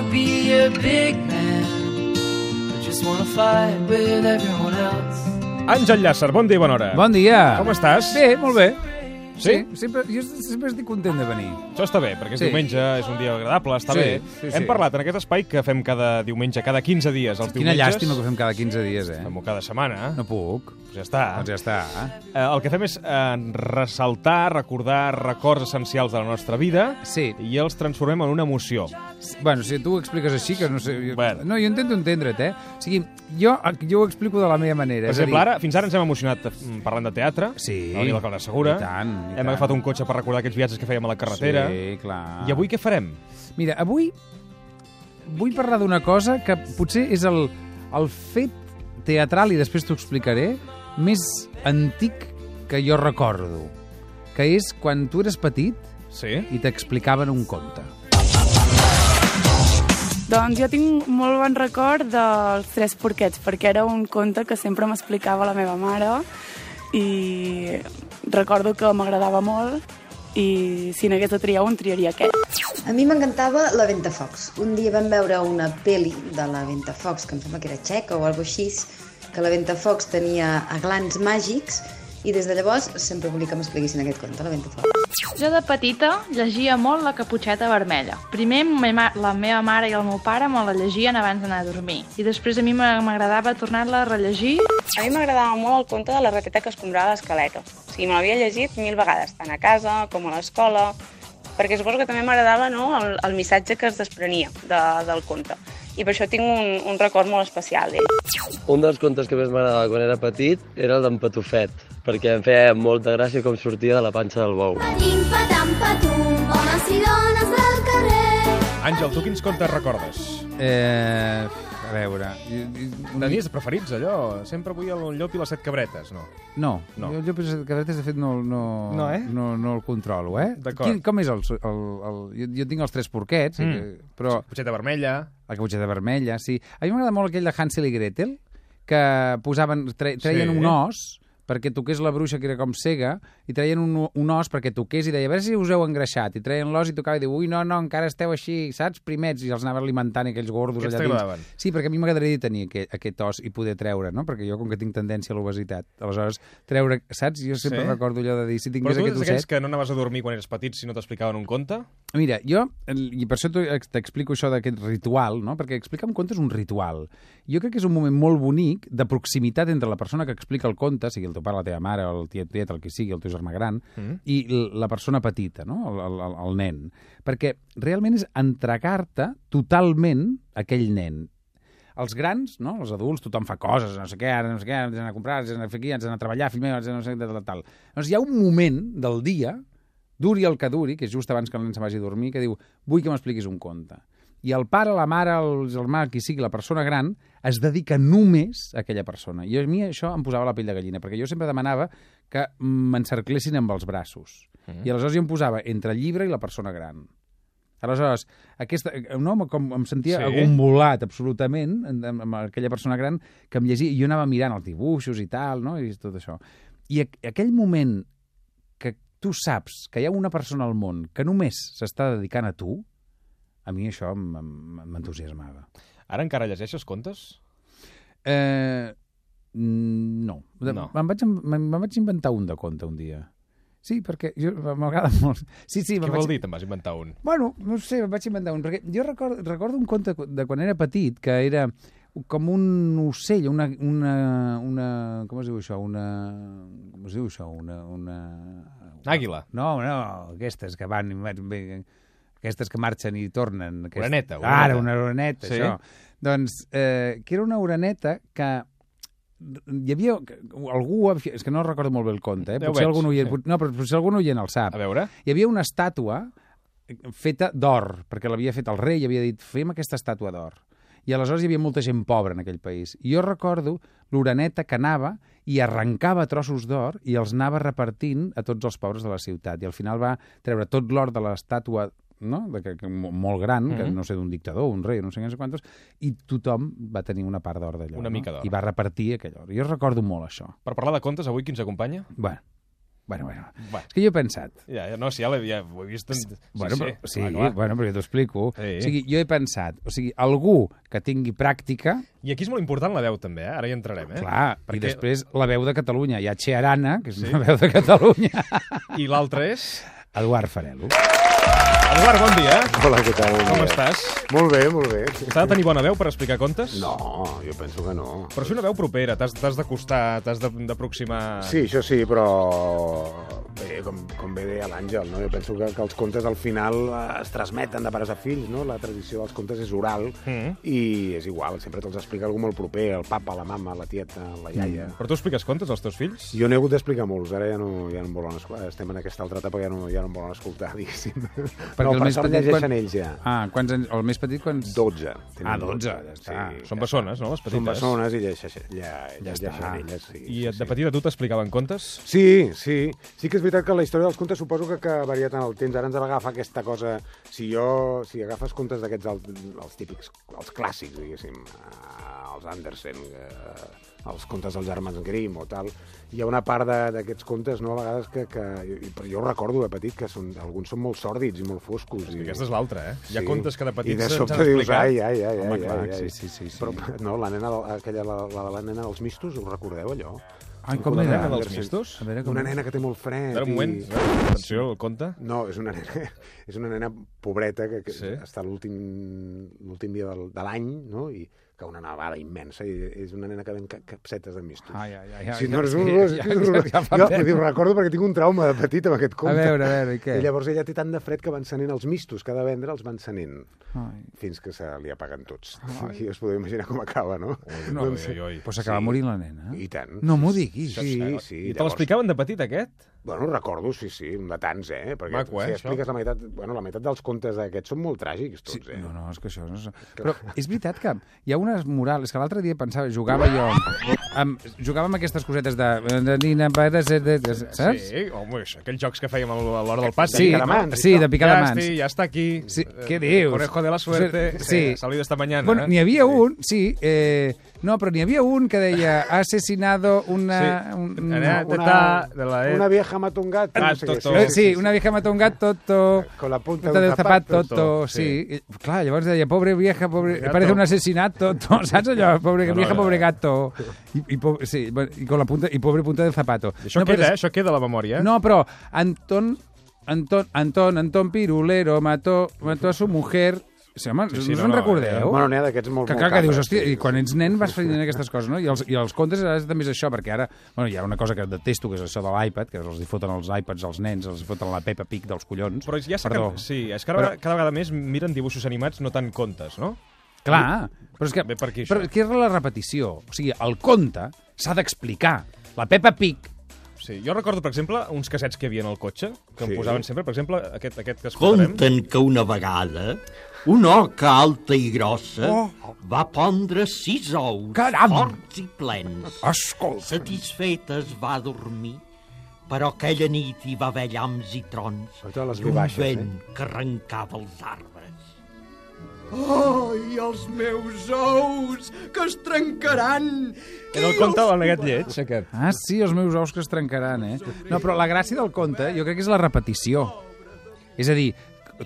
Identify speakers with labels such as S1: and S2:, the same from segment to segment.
S1: a big man. I just wanna fight with everyone else.
S2: Àngel Llàcer, bon dia i bona hora.
S3: Bon dia.
S2: Com estàs?
S3: Bé, molt bé.
S2: Sí?
S3: sempre, jo sempre estic content de venir.
S2: Això està bé, perquè és
S3: Sí.
S2: diumenge, és un dia agradable, està
S3: Sí,
S2: bé.
S3: sí, sí.
S2: Hem parlat en aquest espai que fem cada diumenge, cada 15 dies, els
S3: Quina
S2: diumenges.
S3: llàstima que ho fem cada 15 dies, eh?
S2: Fem-ho cada setmana.
S3: No puc.
S2: Doncs ja està.
S3: Doncs ja està.
S2: Eh, El que fem és eh, ressaltar, recordar records essencials de la nostra vida
S3: Sí.
S2: i els transformem en una emoció.
S3: Bueno, si tu ho expliques així, que no sé... Jo,
S2: Bueno.
S3: No, jo intento entendre't, eh? O sigui, jo, jo ho explico de la meva manera.
S2: Per
S3: és a
S2: exemple,
S3: dir-
S2: ara, fins ara ens hem emocionat mm, parlant de teatre,
S3: Sí.
S2: a la Vila Cabra Segura.
S3: I tant, i
S2: hem
S3: tant.
S2: agafat un cotxe per recordar aquells viatges que fèiem a la carretera.
S3: Sí, Ah. clar.
S2: I avui què farem?
S3: Mira, avui vull parlar d'una cosa que potser és el, el fet teatral, i després t'ho explicaré, més antic que jo recordo, que és quan tu eres petit
S2: Sí?
S3: i t'explicaven un conte.
S4: Doncs jo tinc molt bon record dels Tres Porquets, perquè era un conte que sempre m'explicava la meva mare i recordo que m'agradava molt i si n'hagués de triar un, triaria aquest.
S5: A mi m'encantava la Ventafocs. Un dia vam veure una peli de la Ventafocs, que em sembla que era txeca o alguna així, que la Ventafocs tenia aglans màgics i des de llavors sempre volia que m'expliquessin aquest conte, la Ventafocs.
S6: Jo de petita llegia molt la caputxeta vermella. Primer me- ma- la meva mare i el meu pare me la llegien abans d'anar a dormir. I després a mi m'a- m'agradava tornar-la a rellegir.
S7: A mi m'agradava molt el conte de la rateta que es comprava a l'escaleta. O sigui, me l'havia llegit mil vegades, tant a casa com a l'escola, perquè suposo que també m'agradava no, el, el missatge que es desprenia de, del conte. I per això tinc un, un record molt especial d'ell.
S8: Un dels contes que més m'agradava quan era petit era el d'en Patufet, perquè em feia molta gràcia com sortia de la panxa del bou.
S9: Patim, patam, patum, homes i dones del carrer.
S2: Àngel, tu quins contes recordes?
S3: Eh, a veure... i- i-
S2: Tenies preferits, allò? Sempre vull el llop i les set cabretes, no?
S3: No,
S2: No.
S3: no. Jo, jo penso que de fet no, no,
S2: No, eh?
S3: no, no el controlo, eh?
S2: D'acord.
S3: Quin- Com és el... el, el jo, jo tinc els tres porquets,
S2: Mm.
S3: mm. però...
S2: Cotxeta vermella...
S3: La caputxeta vermella, sí. A mi m'agrada molt aquell de Hansel i Gretel, que posaven, tre, treien
S2: Sí.
S3: sí. un os perquè toqués la bruixa, que era com cega, i treien un, un os perquè toqués i deia, a veure si us heu engreixat. I treien l'os i tocava i diu, ui, no, no, encara esteu així, saps? Primets, i els anava alimentant aquells gordos
S2: Aquests
S3: allà dins.
S2: t'agradaven?
S3: Sí, perquè a mi m'agradaria tenir aquest, aquest os i poder treure, no? Perquè jo, com que tinc tendència a l'obesitat, aleshores, treure... Saps? Jo sempre
S2: Sí.
S3: sí. recordo allò de dir, si
S2: Però
S3: tingués
S2: tu
S3: aquest
S2: ets
S3: osset...
S2: d'aquells que no anaves a dormir quan eres petit si no t'explicaven un conte?
S3: Mira, jo, i per això t'ho- t'explico això d'aquest ritual, no? perquè explicar un conte és un ritual. Jo crec que és un moment molt bonic de proximitat entre la persona que explica el conte, sigui el teu pare, la teva mare, el tiet, tiet, el que sigui, el teu germà gran, mm. i l- la persona petita, no? el, el, el- el nen. Perquè realment és entregar-te totalment a aquell nen els grans, no? els adults, tothom fa coses, no sé què, ara no sé què, ara ens hem d'anar a comprar, ens hem d'anar a fer aquí, ens hem d'anar a treballar, fill meu, ens hem d'anar a no sé què, tal, tal. Llavors hi ha un moment del dia, duri el que duri, que és just abans que el nen se'n vagi a dormir, que diu, vull que m'expliquis un conte. I el pare, la mare, el germà, qui sigui, la persona gran, es dedica només a aquella persona. I a mi això em posava la pell de gallina, perquè jo sempre demanava que m'encerclessin amb els braços. I aleshores jo em posava entre el llibre i la persona gran. Aleshores, aquesta, no, com em sentia
S2: Sí.
S3: sí. agombolat absolutament en- amb, amb aquella persona gran que em llegia, i jo anava mirant els dibuixos i tal, no? i tot això. I aqu- aquell moment que tu saps que hi ha una persona al món que només s'està dedicant a tu, a mi això m- m- m'entusiasmava.
S2: Ara encara llegeixes contes?
S3: Eh, mm, no.
S2: No.
S3: Me'n vaig, me'n- me'n vaig inventar un de conte un dia. Sí, perquè jo- m'agrada molt. Sí, sí,
S2: Què
S3: me'n
S2: vol
S3: vaig,
S2: dir? Te'n vas inventar un.
S3: Bueno, no ho sé, em vaig inventar un, perquè jo record, recordo un conte de quan era petit que era com un ocell, una, una, una com es diu això, una... com es diu això, una... una...
S2: Àguila.
S3: No, no, aquestes que van... i van- ve- Aquestes que marxen i tornen. Aquest...
S2: Oreneta, oreneta.
S3: Ara, una oreneta,
S2: Sí.
S3: sí. això. Doncs, eh, que era una oreneta que hi havia algú, és que no recordo molt bé el conte, eh?
S2: Ja ho
S3: potser
S2: veig,
S3: algun oient,
S2: sí.
S3: no, però potser algun oient el sap
S2: A veure...
S3: hi havia una estàtua eh, feta d'or, perquè l'havia fet el rei i havia dit, fem aquesta estàtua d'or. I aleshores hi havia molta gent pobra en aquell país. I jo recordo l'oreneta que anava i arrencava trossos d'or i els anava repartint a tots els pobres de la ciutat. I al final va treure tot l'or de l'estàtua no? de que, que, mo- molt gran, mm -hmm.
S2: Mm-hmm.
S3: que no sé, d'un dictador, un rei, no sé quins quantos, i tothom va tenir una part d'or d'allò.
S2: Una
S3: no?
S2: mica d'or.
S3: I va repartir aquell or. Jo recordo molt això.
S2: Per parlar de contes, avui qui ens acompanya?
S3: Bueno, Bueno, bueno.
S2: Va.
S3: És que jo he pensat...
S2: Ja, ja, no, sí, ja, l'he- ja ho he vist. En... Ah,
S3: Bueno, però, sí,
S2: clar, clar.
S3: bueno, però jo t'ho explico.
S2: Sí.
S3: O sigui, jo he pensat, o sigui, algú que tingui pràctica,
S2: I aquí és molt important la veu, també, eh? Ara hi entrarem, eh?
S3: clar,
S2: perquè-
S3: i després la veu de Catalunya. Hi ha Chearana, que és
S2: Sí.
S3: sí. la veu de Catalunya.
S2: I l'altre és...
S3: Eduard Farelo.
S2: Eduard, bon dia.
S10: Hola, què tal? Bon
S2: Com
S10: dia.
S2: estàs?
S10: Molt bé, molt bé.
S2: S'ha de tenir bona veu per explicar contes?
S10: No, jo penso que no.
S2: Però és una veu propera, t'has t'has d'acostar, t'has de- d'aproximar...
S10: Sí, això sí, però... Bé, com, com bé deia l'Àngel, no? jo penso que, que els contes al final eh, es transmeten de pares a fills, no? la tradició dels contes és oral
S2: Mm.
S10: i és igual, sempre te'ls explica algú molt proper, el papa, la mama, la tieta, la iaia...
S2: Però tu expliques contes als teus fills?
S10: Jo n'he hagut d'explicar molts, ara ja no, ja no em volen escoltar, estem en aquesta altra etapa, ja no, ja no em volen escoltar, diguéssim. Perquè no,
S3: el
S10: per
S3: més
S10: sort
S3: petit
S10: llegeixen
S3: quan-
S10: ells ja.
S3: Ah, quants anys, el més petit, quants...
S10: 12.
S3: Ah, 12, ja
S10: ja
S3: està.
S2: Són bessones, no, les petites?
S10: Són bessones i llegeixen, ja, ja, ja,
S3: està.
S10: elles, sí.
S2: I
S10: sí,
S2: de petita a tu t'explicaven contes?
S10: Sí, sí. Sí que és veritat que la història dels contes suposo que, que varia tant el temps. Ara ens agafa aquesta cosa... Si jo... Si agafes contes d'aquests, els, els típics, els clàssics, diguéssim, eh, els Andersen, eh, els contes dels germans Grimm o tal, hi ha una part de- d'aquests contes, no?, a vegades que... que i- però jo recordo de petit que són, alguns són molt sòrdids i molt foscos.
S2: I
S10: I,
S2: aquesta és l'altra, eh? Hi ha
S10: Sí.
S2: contes que de
S10: I
S2: petits
S10: de
S2: ens
S10: sobte
S2: han
S10: dius,
S2: explicat.
S10: ai, ai, ai,
S3: Home,
S10: ai,
S3: clar,
S10: ai, ai.
S3: sí, sí, sí, sí.
S10: Però, no, la nena, del- aquella, la, la, la nena dels mistos, us recordeu allò?
S3: Ai,
S10: Us
S3: com
S10: recordeu
S3: era?
S10: de
S2: dels
S10: Andersen?
S2: mistos?
S3: A veure Eh, com...
S10: Una nena que té molt fred.
S2: Espera un moment,
S10: i-
S2: atenció, el conte.
S10: No, és una nena, és una nena pobreta que, que
S2: Sí.
S10: sí. està l'últim l'últim dia del, de l'any, no? I que una nevada immensa i és una nena que ven ca- capsetes de mistos.
S3: Ai, ai, ai, ai, Ah,
S10: sí,
S3: ja-
S10: no, és un
S3: ja-
S10: horror.
S3: ja-
S10: és un horror.
S3: ja- ja fa
S10: jo
S3: pena.
S10: ho dic, recordo perquè tinc un trauma de petit amb aquest conte.
S3: veure, a veure, i què?
S10: I llavors ella té tant de fred que va encenent els mistos, cada vendre els va encenent
S3: Ai.
S10: fins que se li apaguen tots. I us podeu imaginar com acaba, no?
S2: No, oi, oi, oi.
S3: Però s'acaba
S10: Sí.
S3: morint la nena.
S10: I tant.
S3: No m'ho diguis.
S10: Sí, sí.
S2: I te
S10: llavors-
S2: l'explicaven de petit, aquest?
S10: Bueno, recordo, sí, sí, un de tants, eh? Perquè
S2: Maco, eh,
S10: si
S2: això?
S10: expliques la meitat... Bueno, la meitat dels contes d'aquests són molt tràgics, tots, eh?
S3: No, no, és que això... No és... Però és veritat que hi ha unes morals... És que l'altre dia pensava, jugava jo... Amb, jugava amb aquestes cosetes de... Saps? Ah,
S2: Sí, home, això, aquells jocs que fèiem al- a l'hora del passi.
S3: Sí,
S10: picar la mans.
S3: sí, de picar
S2: ja
S3: la mans.
S2: estic, ja està aquí.
S3: Sí,
S2: Eh,
S3: què dius?
S2: Conejo de la suerte.
S3: Sí,
S2: Sí,
S3: sí.
S2: ha salido esta mañana.
S3: Bueno,
S2: eh?
S3: n'hi havia un, sí, eh, no, però n'hi havia un que deia ha asesinado una...
S2: Sí.
S3: Un,
S2: Ara-
S3: no,
S2: Teta de la E.
S10: Una vieja mata un gato,
S2: Ah,
S10: no sé què.
S2: Toto.
S3: eh, sí, una vieja mató un gat, toto...
S10: Con la punta
S3: punta
S10: d'un
S3: del zapat,
S10: zapato.
S3: toto, sí. sí. I, Clar, llavors deia, pobre vieja, pobre... Gato. Parece un assassinat, toto, saps allò? Pobre
S2: No, no,
S3: no, vieja,
S2: no.
S3: pobre gato. I, i, po sí, bueno, i, con la punta, i pobre punta del zapato.
S2: Això
S3: però
S2: queda, eh?
S3: és-
S2: Això queda a la memòria.
S3: No, però Anton, Anton, Anton, Anton Pirulero mató, mató a su mujer... Sí, home,
S2: Sí,
S3: sí,
S2: sí,
S3: sí, no,
S2: no,
S3: se'n
S2: no,
S3: recordeu?
S10: Bueno, n'hi ha d'aquests molt...
S3: Que
S10: molt
S3: clar, que dius,
S10: cabres,
S3: hòstia,
S10: sí,
S3: i quan ets nen vas fent aquestes coses, no? I els, i els contes ara també és això, perquè ara, bueno, hi ha una cosa que detesto, que és això de l'iPad, que els hi foten els iPads als nens, els hi foten la Peppa Pig dels collons.
S2: Però ja s'ha...
S3: Perdó.
S2: can- Sí, és que ara
S3: Però-
S2: cada vegada més miren dibuixos animats, no tant contes, no?
S3: Clar, però és que,
S2: Ve per aquí,
S3: però
S2: això.
S3: és que és la repetició. O sigui, el conte s'ha d'explicar. La Peppa Pig,
S2: Sí, jo recordo, per exemple, uns cassets que hi havia en el cotxe, que sí. em
S10: Sí.
S2: posaven sempre, per exemple, aquest, aquest que escoltarem.
S11: Conten que una vegada una oca alta i
S10: Eh?
S11: grossa
S3: Oh.
S11: va pondre sis ous
S3: Caram!
S11: forts i plens.
S3: escolta,
S11: Satisfeta es va dormir, però aquella nit hi va haver llamps i trons
S10: Sobretot les
S11: d'un
S10: vivaces,
S11: vent que arrencava els arbres. Ai, els meus ous, que es trencaran!
S2: Era el conte del negat lleig, aquest.
S3: Ah, sí, els meus ous que es trencaran, eh? No, però la gràcia del conte jo crec que és la repetició. És a dir,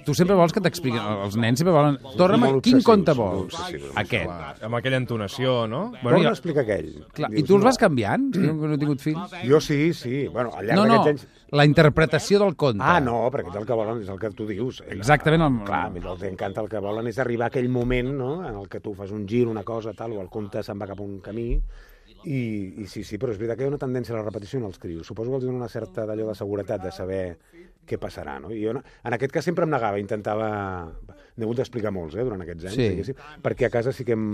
S3: tu sempre vols que t'expliquin... Els nens sempre volen... Torna'm,
S10: Molt
S3: quin
S10: obsessius,
S3: conte
S10: molt
S3: vols?
S10: obsessius, molt
S3: Aquest.
S2: Amb aquella entonació, no?
S10: Bueno,
S3: jo-
S10: no explica aquell.
S3: Clar, I
S10: Dius,
S3: tu els
S10: no.
S3: vas canviant? Jo no he tingut fills.
S10: Jo sí, sí. Bueno, al llarg
S3: No, no,
S10: d'aquests anys...
S3: la interpretació del conte.
S10: Ah, no, perquè és el que volen, és el que tu dius.
S3: Exactament el-
S10: Clar, a ells els encanta el que volen és arribar a aquell moment no? en el que tu fas un gir, una cosa, tal, o el conte se'n va cap a un camí, i, i sí, sí, però és veritat que hi ha una tendència a la repetició en els crios. Suposo que els dona una certa d'allò de seguretat, de saber què passarà, no? I jo, no- en aquest cas, sempre em negava, intentava... N'he hagut d'explicar molts, eh, durant aquests anys,
S3: Sí.
S10: diguéssim, perquè a casa sí que hem,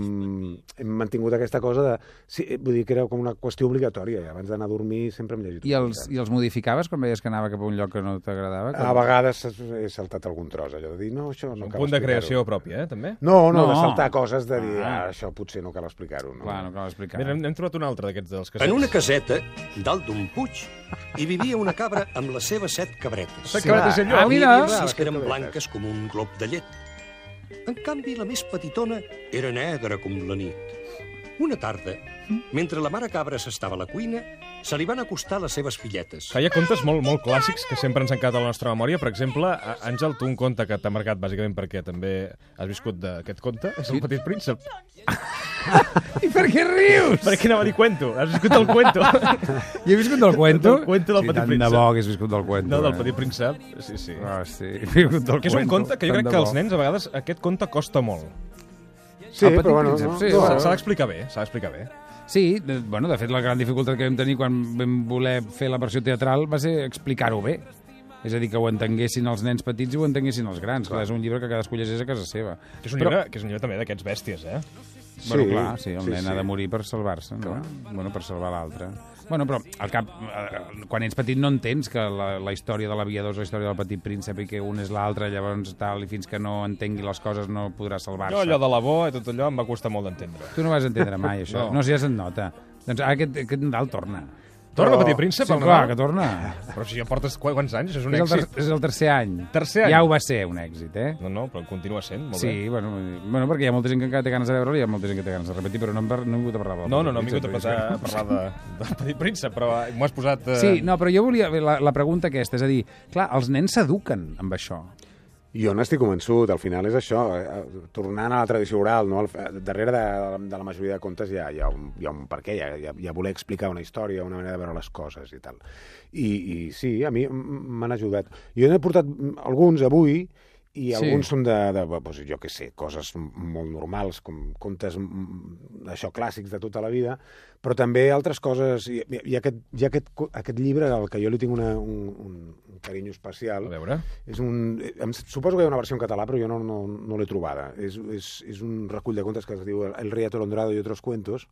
S10: hem mantingut aquesta cosa de... Sí, vull dir que era com una qüestió obligatòria, i abans d'anar a dormir sempre em llegia.
S3: I els, I els modificaves quan veies que anava cap a un lloc que no t'agradava?
S10: A vegades he saltat algun tros, allò de dir, no, això no
S2: Un
S10: cal
S2: punt de
S10: explicar-ho.
S2: creació pròpia, eh, també.
S10: No, no,
S3: No.
S10: no, de saltar coses de dir,
S3: Ah.
S10: ah, això potser no cal explicar-ho. No?
S3: Clar, no cal explicar.
S2: Mira, n'hem trobat un altre d'aquests dels cassets.
S11: En una caseta, dalt d'un puig, hi vivia una cabra amb les seves set cabretes.
S2: S'ha acabat de ser
S3: Ah,
S2: lloc.
S3: mira.
S11: Les sis que eren blanques com un glob de llet. En canvi, la més petitona era negra com la nit. Una tarda, mentre la mare cabra s'estava a la cuina,
S12: Se li van acostar les seves filletes.
S2: Feia contes molt, molt clàssics que sempre ens han quedat a la nostra memòria. Per exemple, a- Àngel, tu un conte que t'ha marcat bàsicament perquè també has viscut d'aquest conte, és El Petit Príncep.
S3: I per què rius?
S2: Perquè anava a dir cuento. Has viscut el cuento.
S3: I he viscut del cuento?
S2: Del cuento del
S3: sí,
S2: Petit
S3: tant de
S2: Príncep.
S3: bo hagués viscut del cuento.
S2: No, del
S3: eh?
S2: Petit Príncep. Sí, sí.
S3: Ah, sí. He viscut del
S2: que és un
S3: cuento,
S2: conte que jo
S3: tant
S2: crec
S3: de
S2: que als
S3: bo.
S2: nens a vegades aquest conte costa molt.
S3: Sí,
S2: El Petit
S3: però bueno,
S2: Príncep,
S3: no,
S2: sí,
S3: no,
S2: s'ha-
S3: no.
S2: S'ha d'explicar bé, s'ha d'explicar bé.
S3: Sí, de, bueno, de fet, la gran dificultat que vam tenir quan vam voler fer la versió teatral va ser explicar-ho bé. És a dir, que ho entenguessin els nens petits i ho entenguessin els grans. Clar, és un llibre que cadascú llegeix a casa seva.
S2: Que és un llibre, que és un llibre també d'aquests bèsties, eh?
S3: Bueno, clar, sí, el
S2: Sí,
S3: sí, nen
S2: sí.
S3: sí. ha de morir per salvar-se, no? Bueno, per salvar l'altre. Bueno, però al cap, eh, quan ets petit no entens que la, la història de l'aviador és la història del petit príncep i que un és l'altre, llavors tal, i fins que no entengui les coses no podrà salvar-se.
S2: Jo allò de la bo i tot allò em va costar molt d'entendre.
S3: Tu no vas entendre mai, això.
S2: No.
S3: No, no si ja se't nota. Doncs ara aquest, aquest Nadal torna.
S2: Torna, Petit Príncep,
S3: Sí,
S2: el
S3: clar,
S2: Nadal?
S3: que torna.
S2: Però si ja portes qu- quants anys, és un
S3: és, el
S2: èxit.
S3: ter és el tercer any.
S2: Tercer any.
S3: Ja ho va ser, un èxit, eh?
S2: No, no, però continua sent, molt
S3: sí,
S2: bé.
S3: bueno, vull dir- bueno, perquè hi ha molta gent que encara té ganes de veure'l i hi ha molta gent que té ganes de repetir, però no, hem par- no he vingut a parlar del
S2: No, no,
S3: Petit
S2: no, hem vingut a
S3: Príncep, eh?
S2: parlar, a
S3: perquè-
S2: parlar de, del Petit Príncep, però eh, m'ho has posat... Eh...
S3: Sí, no, però jo volia... bé, La, la pregunta aquesta, és a dir, clar, els nens s'eduquen amb això.
S10: Jo n'estic convençut, al final és això, eh, eh, tornant a la tradició oral, no? Al- eh, darrere de, de la majoria de contes hi ha, hi ha, un, hi ha un per què, hi ha, hi ha, hi ha voler explicar una història, una manera de veure les coses i tal. I, i sí, a mi m- m'han ajudat. Jo n'he portat mm, alguns avui, i
S3: Sí.
S10: alguns són de, de bé, doncs, jo què sé, coses m- molt normals, com contes mm, això clàssics de tota la vida, però també altres coses. I, i, i aquest, i aquest, co- aquest llibre, al que jo li tinc una, un, un, un carinyo especial...
S2: A veure.
S10: És un, eh, em, suposo que hi ha una versió en català, però jo no, no, no l'he trobada. És, és, és un recull de contes que es diu El Riato Londrado i otros cuentos,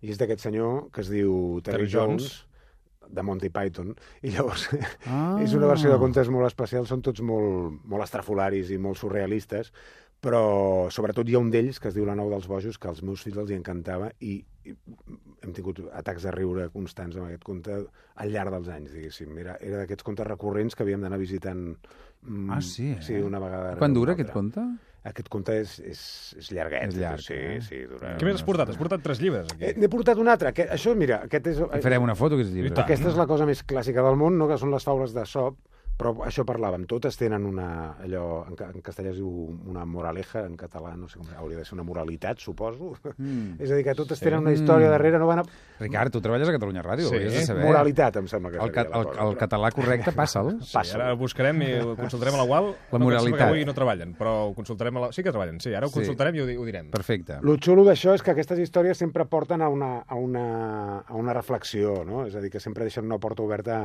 S10: i és d'aquest senyor que es diu Terry,
S2: Terry
S10: Jones,
S2: Jones.
S10: de Monty Python, i llavors
S3: Ah.
S10: és una versió de contes molt especial, són tots molt, molt estrafolaris i molt surrealistes, però sobretot hi ha un d'ells que es diu La nou dels bojos, que als meus fills els hi encantava i, i hem tingut atacs de riure constants amb aquest conte al llarg dels anys, diguéssim. Era, era d'aquests contes recurrents que havíem d'anar visitant mm,
S3: Ah, sí, eh?
S10: sí, una vegada.
S3: Quan
S10: rere
S3: dura
S10: una
S3: aquest
S10: altra.
S3: conte?
S10: Aquest conte és, és, és llarguet.
S3: És llarg,
S10: Sí,
S3: eh?
S10: sí, dura...
S2: Què més has portat? Has portat tres llibres, aquí.
S10: Eh, N'he portat un altre. Que, això, mira, aquest és... eh,
S3: I farem una foto, aquests llibres.
S10: Aquesta és la cosa més clàssica del món, no? que són les faules de Sop, però això parlàvem, totes tenen una, allò, en, ca- en castellà es diu una moraleja, en català no sé com, hauria de ser una moralitat, suposo. Mm. És a dir, que totes
S3: Sí.
S10: tenen una història
S3: Mm.
S10: darrere, no van a...
S3: Ricard, tu treballes a Catalunya Ràdio,
S10: Sí.
S3: ho hauries de saber.
S10: Moralitat, em sembla que
S3: el,
S10: seria
S3: ca
S10: la
S3: el,
S10: cosa,
S3: el
S10: però-
S3: català correcte, passa'l.
S2: Sí, ara ho buscarem i ho consultarem a la UAL. No,
S3: La
S2: que em sembla
S3: moralitat.
S2: Que avui no treballen, però ho consultarem a la... Sí que treballen, sí. Ara ho
S3: Sí.
S2: consultarem i ho, di- ho direm.
S3: Perfecte.
S10: Lo xulo d'això és que aquestes històries sempre porten a una, a, una, a una reflexió, no? És a dir, que sempre deixen una porta oberta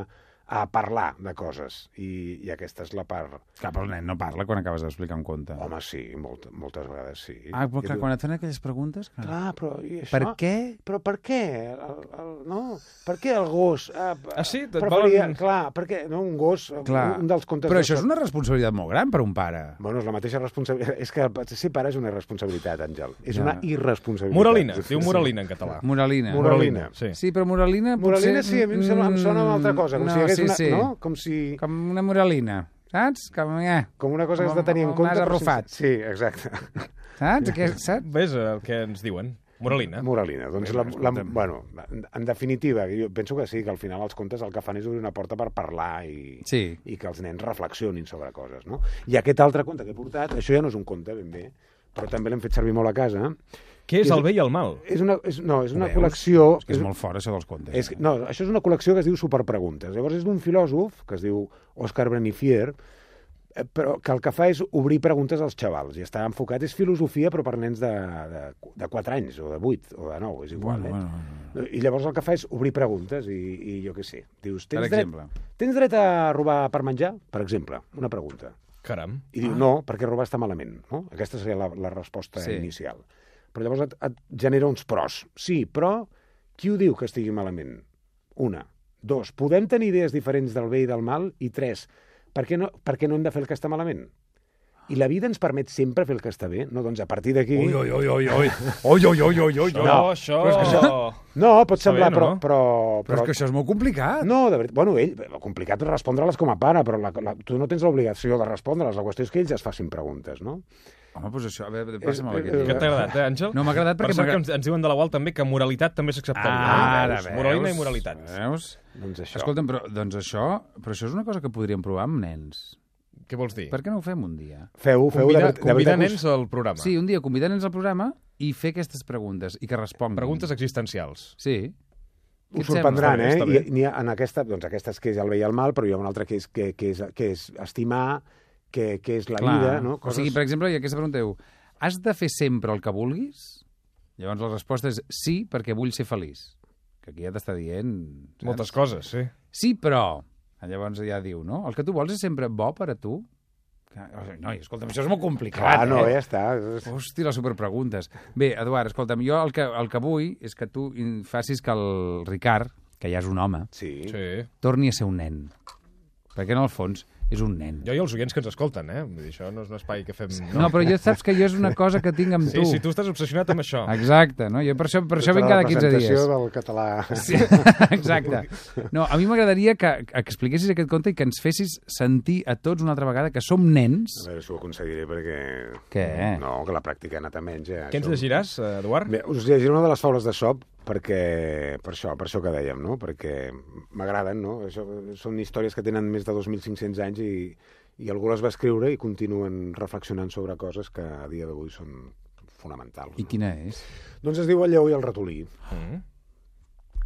S10: a parlar de coses, i, i aquesta és la part...
S3: Cap al nen no parla quan acabes d'explicar un conte.
S10: Home, sí, molt, moltes vegades sí.
S3: Ah, però
S10: I
S3: clar,
S10: tu-
S3: quan et fan aquelles preguntes... Clar,
S10: Clar, però i això?
S3: Per què?
S10: Però per què? El, el, no? Per què el gos? Ah,
S2: Ah, sí? Et
S10: preferia,
S2: volen-
S10: Clar, perquè no, un gos,
S3: Clar.
S10: un- un dels contes...
S3: Però
S10: de-
S3: això és una responsabilitat molt gran per un pare.
S10: Bueno, és la mateixa responsabilitat. És que ser pare és una responsabilitat, Àngel. És
S3: Ja.
S10: una irresponsabilitat.
S2: Moralina, es diu moralina en català.
S3: Moralina.
S10: Moralina.
S2: Sí.
S3: Sí, però moralina...
S10: Moralina
S3: potser...
S10: sí, a mi em sembla, em sona una altra cosa. Com
S3: no,
S10: si hi hagués
S3: sí,
S10: una,
S3: sí.
S10: No? Com si...
S3: Com una moralina, saps? Com, eh,
S10: Com una cosa que has de tenir en
S3: Com
S10: compte...
S3: un nas
S10: però sense-
S3: arrufat.
S10: Sí, exacte.
S3: Saps? Que, saps?
S2: Ves el que ens diuen. Moralina.
S10: Moralina. Doncs, la, la,
S2: escolta'm.
S10: bueno, en, en definitiva, jo penso que sí, que al final els contes el que fan és obrir una porta per parlar i,
S3: Sí.
S10: i que els nens reflexionin sobre coses, no? I aquest altre conte que he portat, això ja no és un conte ben bé, però també l'hem fet servir molt a casa.
S2: Què és el bé i el mal?
S10: És una, és, no, és
S3: Ho
S10: una
S3: veus?
S10: col·lecció...
S3: És que és molt fort, això dels contes.
S10: És, no, això és una col·lecció que es diu Superpreguntes. Llavors és d'un filòsof que es diu Oscar Brenifier, eh, però que el que fa és obrir preguntes als xavals i està enfocat, és filosofia però per nens de, de, de 4 anys o de 8 o de 9, és igual, eh?
S3: bueno,
S10: I llavors el que fa és obrir preguntes i, i jo què sé. Dius,
S3: Per
S10: tens,
S3: exemple.
S10: dret, tens dret a robar per menjar? Per exemple, una pregunta.
S2: Caram.
S10: I diu, no, perquè robar està malament. No? Aquesta seria la, la resposta
S3: Sí.
S10: sí. inicial. Però llavors et, et genera uns pros. Sí, però qui ho diu que estigui malament? Una. Dos, podem tenir idees diferents del bé i del mal? I tres, per què no, per què no hem de fer el que està malament? I la vida ens permet sempre fer el que està bé. No, doncs a partir d'aquí...
S2: Ui, ui, ui, ui,
S3: ui. Ui, ui, ui, ui, ui.
S10: No,
S2: Això-
S10: Però és que això... No, pot
S2: Està
S10: semblar,
S2: bé,
S10: però,
S2: no?
S10: però, però...
S3: Però és que això és molt complicat.
S10: No, de veritat. Bueno, ell, el complicat és respondre-les com a pare, però la, la, tu no tens l'obligació de respondre-les. La qüestió és que ells es facin preguntes, no?
S3: Home, doncs això, a veure,
S2: Què
S3: passa-me la
S2: t'ha agradat, eh, Àngel?
S3: No, m'ha agradat perquè...
S2: Per cert,
S3: m'agrada-
S2: que ens, ens diuen de la UAL també que moralitat també s'acceptaria.
S3: Ara,
S2: Veus?
S3: veus. Eh.
S2: Moralina i moralitat.
S3: Veus?
S10: Doncs això.
S3: Escolta'm, però, doncs això, però això és una cosa que podríem provar amb nens.
S2: Què vols dir?
S3: Per què no ho fem un dia?
S10: Feu- feu,
S2: Convida- de ver- de convida veritat que us- nens al programa.
S3: Sí, un dia convidar nens al programa i fer aquestes preguntes i que responguin.
S2: Preguntes existencials.
S3: Sí. Què et
S10: Us
S3: sembla?
S10: sorprendran, eh? I, n'hi ha, en aquesta, doncs aquesta és que és el bé i el mal, però hi ha una altra que és, que, que és, que és estimar, que, que és la
S3: Clar.
S10: vida, no?
S3: O sigui, per exemple, hi ha aquesta pregunta diu, has de fer sempre el que vulguis? Llavors la resposta és sí, perquè vull ser feliç. Que aquí ja t'està dient... Saps?
S2: Moltes coses, sí.
S3: Sí, però... Llavors ja diu, no? El que tu vols és sempre bo per a tu? Que- o sigui, Noi, escolta'm, això és molt complicat,
S10: Clar,
S3: eh?
S10: no, ja està.
S3: Hosti, les superpreguntes. Bé, Eduard, escolta'm, jo el que, el que vull és que tu in- facis que el Ricard, que ja és un home,
S10: sí. Tota
S2: Sí.
S3: torni a ser un nen. Perquè en el fons és un nen.
S2: Jo i els oients que ens escolten, eh? Vull dir, això no és un espai que fem...
S3: No, però jo saps que jo és una cosa que tinc amb
S2: sí,
S3: tu.
S2: Sí, tu estàs obsessionat amb això.
S10: Ah,
S3: Exacte, no? Jo per això, per això
S10: Tota
S3: vinc
S10: la
S3: cada 15 dies.
S10: representació del català.
S3: Sí, exacte. No, a mi m'agradaria que expliquessis aquest conte i que ens fessis sentir a tots una altra vegada que som nens.
S10: A veure si ho aconseguiré, perquè...
S3: Què?
S10: No, que la pràctica ha anat a menys, eh?
S2: Què ens
S10: Això-
S2: llegiràs, eh, Eduard?
S10: Bé, us llegiré una de les faules de Sop perquè, per això, per això que dèiem, no? Perquè m'agraden, no? Això, són històries que tenen més de 2.500 anys i, i algú les va escriure i continuen reflexionant sobre coses que a dia d'avui són fonamentals.
S3: I quina és?
S10: Doncs es diu El lleó i el ratolí.
S2: Mm.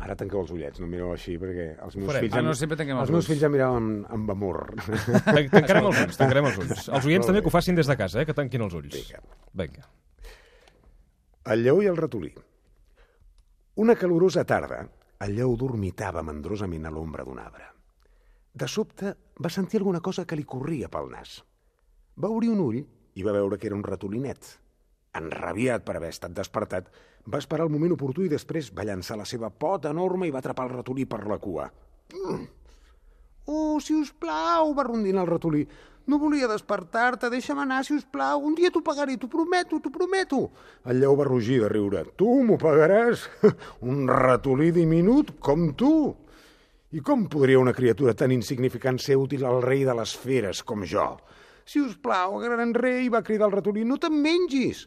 S10: Ara tanqueu els ullets, no mireu així, perquè els meus
S2: Farem.
S10: fills...
S2: Ah,
S10: em-
S2: no, sempre tanquem els
S10: els meus
S2: ulls.
S10: fills ja miraven amb, amb amor.
S2: Tan- Tancarem els ulls, tancarem els ulls. Els oients
S10: Molt
S2: també
S10: bé.
S2: que ho facin des de casa, eh? Que tanquin els ulls. Vinga. Vinga.
S10: El lleó i el ratolí. Una calorosa tarda, el lleó dormitava mandrosament a l'ombra d'un arbre. De sobte va sentir alguna cosa que li corria pel nas. Va obrir un ull i va veure que era un ratolinet. Enrabiat per haver estat despertat, va esperar el moment oportú i després va llançar la seva pota enorme i va atrapar el ratolí per la cua. Mm. Oh, si us plau, va rondinar el ratolí. No volia despertar-te, deixa'm anar, si us plau. Un dia t'ho pagaré, t'ho prometo, t'ho prometo. El lleu va rugir de riure. Tu m'ho pagaràs? Un ratolí diminut com tu. I com podria una criatura tan insignificant ser útil al rei de les feres com jo? Si us plau, gran rei, va cridar el ratolí, no te'n mengis.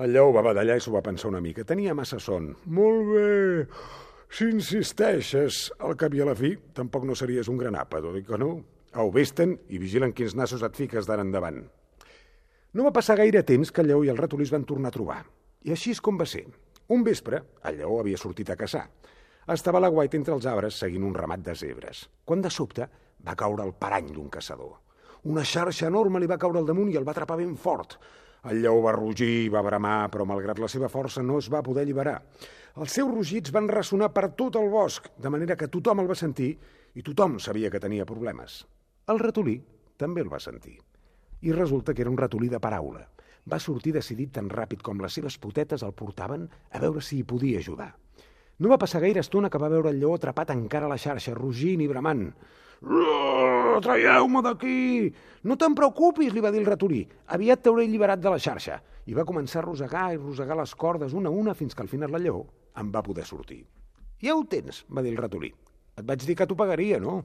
S10: El lleu va badallar i s'ho va pensar una mica. Tenia massa son. Molt bé. Si insisteixes, al cap i a la fi, tampoc no series un gran àpat, o dic que no? Au, vés-te'n i vigilen quins nassos et fiques d'ara endavant. No va passar gaire temps que el lleó i el ratolí es van tornar a trobar. I així és com va ser. Un vespre, el lleó havia sortit a caçar. Estava a la guaita entre els arbres seguint un ramat de zebres. Quan de sobte va caure el parany d'un caçador. Una xarxa enorme li va caure al damunt i el va atrapar ben fort. El lleó va rugir i va bramar, però malgrat la seva força no es va poder alliberar. Els seus rugits van ressonar per tot el bosc, de manera que tothom el va sentir i tothom sabia que tenia problemes. El ratolí també el va sentir i resulta que era un ratolí de paraula. Va sortir decidit tan ràpid com les seves potetes el portaven a veure si hi podia ajudar. No va passar gaire estona que va veure el lleó atrapat encara a la xarxa, rugint i bramant. «Rrrr, Traieu-me d'aquí! No te'n preocupis, li va dir el ratolí. Aviat t'hauré alliberat de la xarxa. I va començar a rosegar i rosegar les cordes una a una fins que al final la lleó en va poder sortir. Ja ho tens, va dir el ratolí. Et vaig dir que t'ho pagaria, no?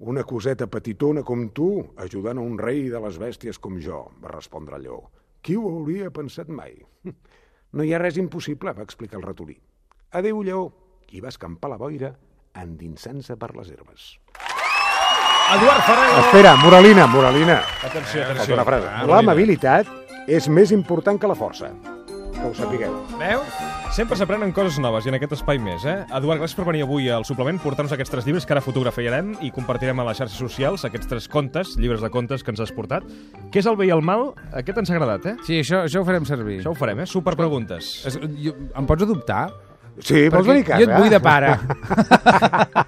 S10: Una coseta petitona com tu, ajudant a un rei de les bèsties com jo, va respondre el lleó. Qui ho hauria pensat mai? Hm. No hi ha res impossible, va explicar el ratolí. Adéu, lleó. I va escampar la boira endinsant-se per les herbes.
S2: Eduard Ferrer!
S10: Espera, moralina, moralina.
S2: Atenció,
S10: Falta
S2: atenció.
S10: una frase.
S2: Ah,
S10: L'amabilitat és més important que la força. Que ho sapigueu.
S2: Veus? Sempre s'aprenen coses noves i en aquest espai més, eh? Eduard, gràcies per venir avui al suplement, portar-nos aquests tres llibres que ara fotografiarem i compartirem a les xarxes socials aquests tres contes, llibres de contes que ens has portat. Què és el bé i el mal? Aquest ens ha agradat, eh?
S3: Sí, això, això ho farem servir.
S2: Això ho farem, eh? Superpreguntes.
S3: Es, jo, em pots adoptar?
S10: Sí, vols
S3: Perquè
S10: venir a casa?
S3: Jo et vull de pare.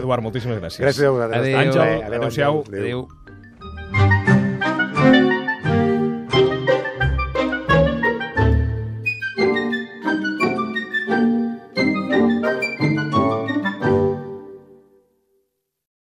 S2: Eduard, moltíssimes gràcies.
S10: Gràcies a vosaltres.
S2: Àngel,
S10: Adéu, adéu,
S2: adéu-siau.
S10: adéu.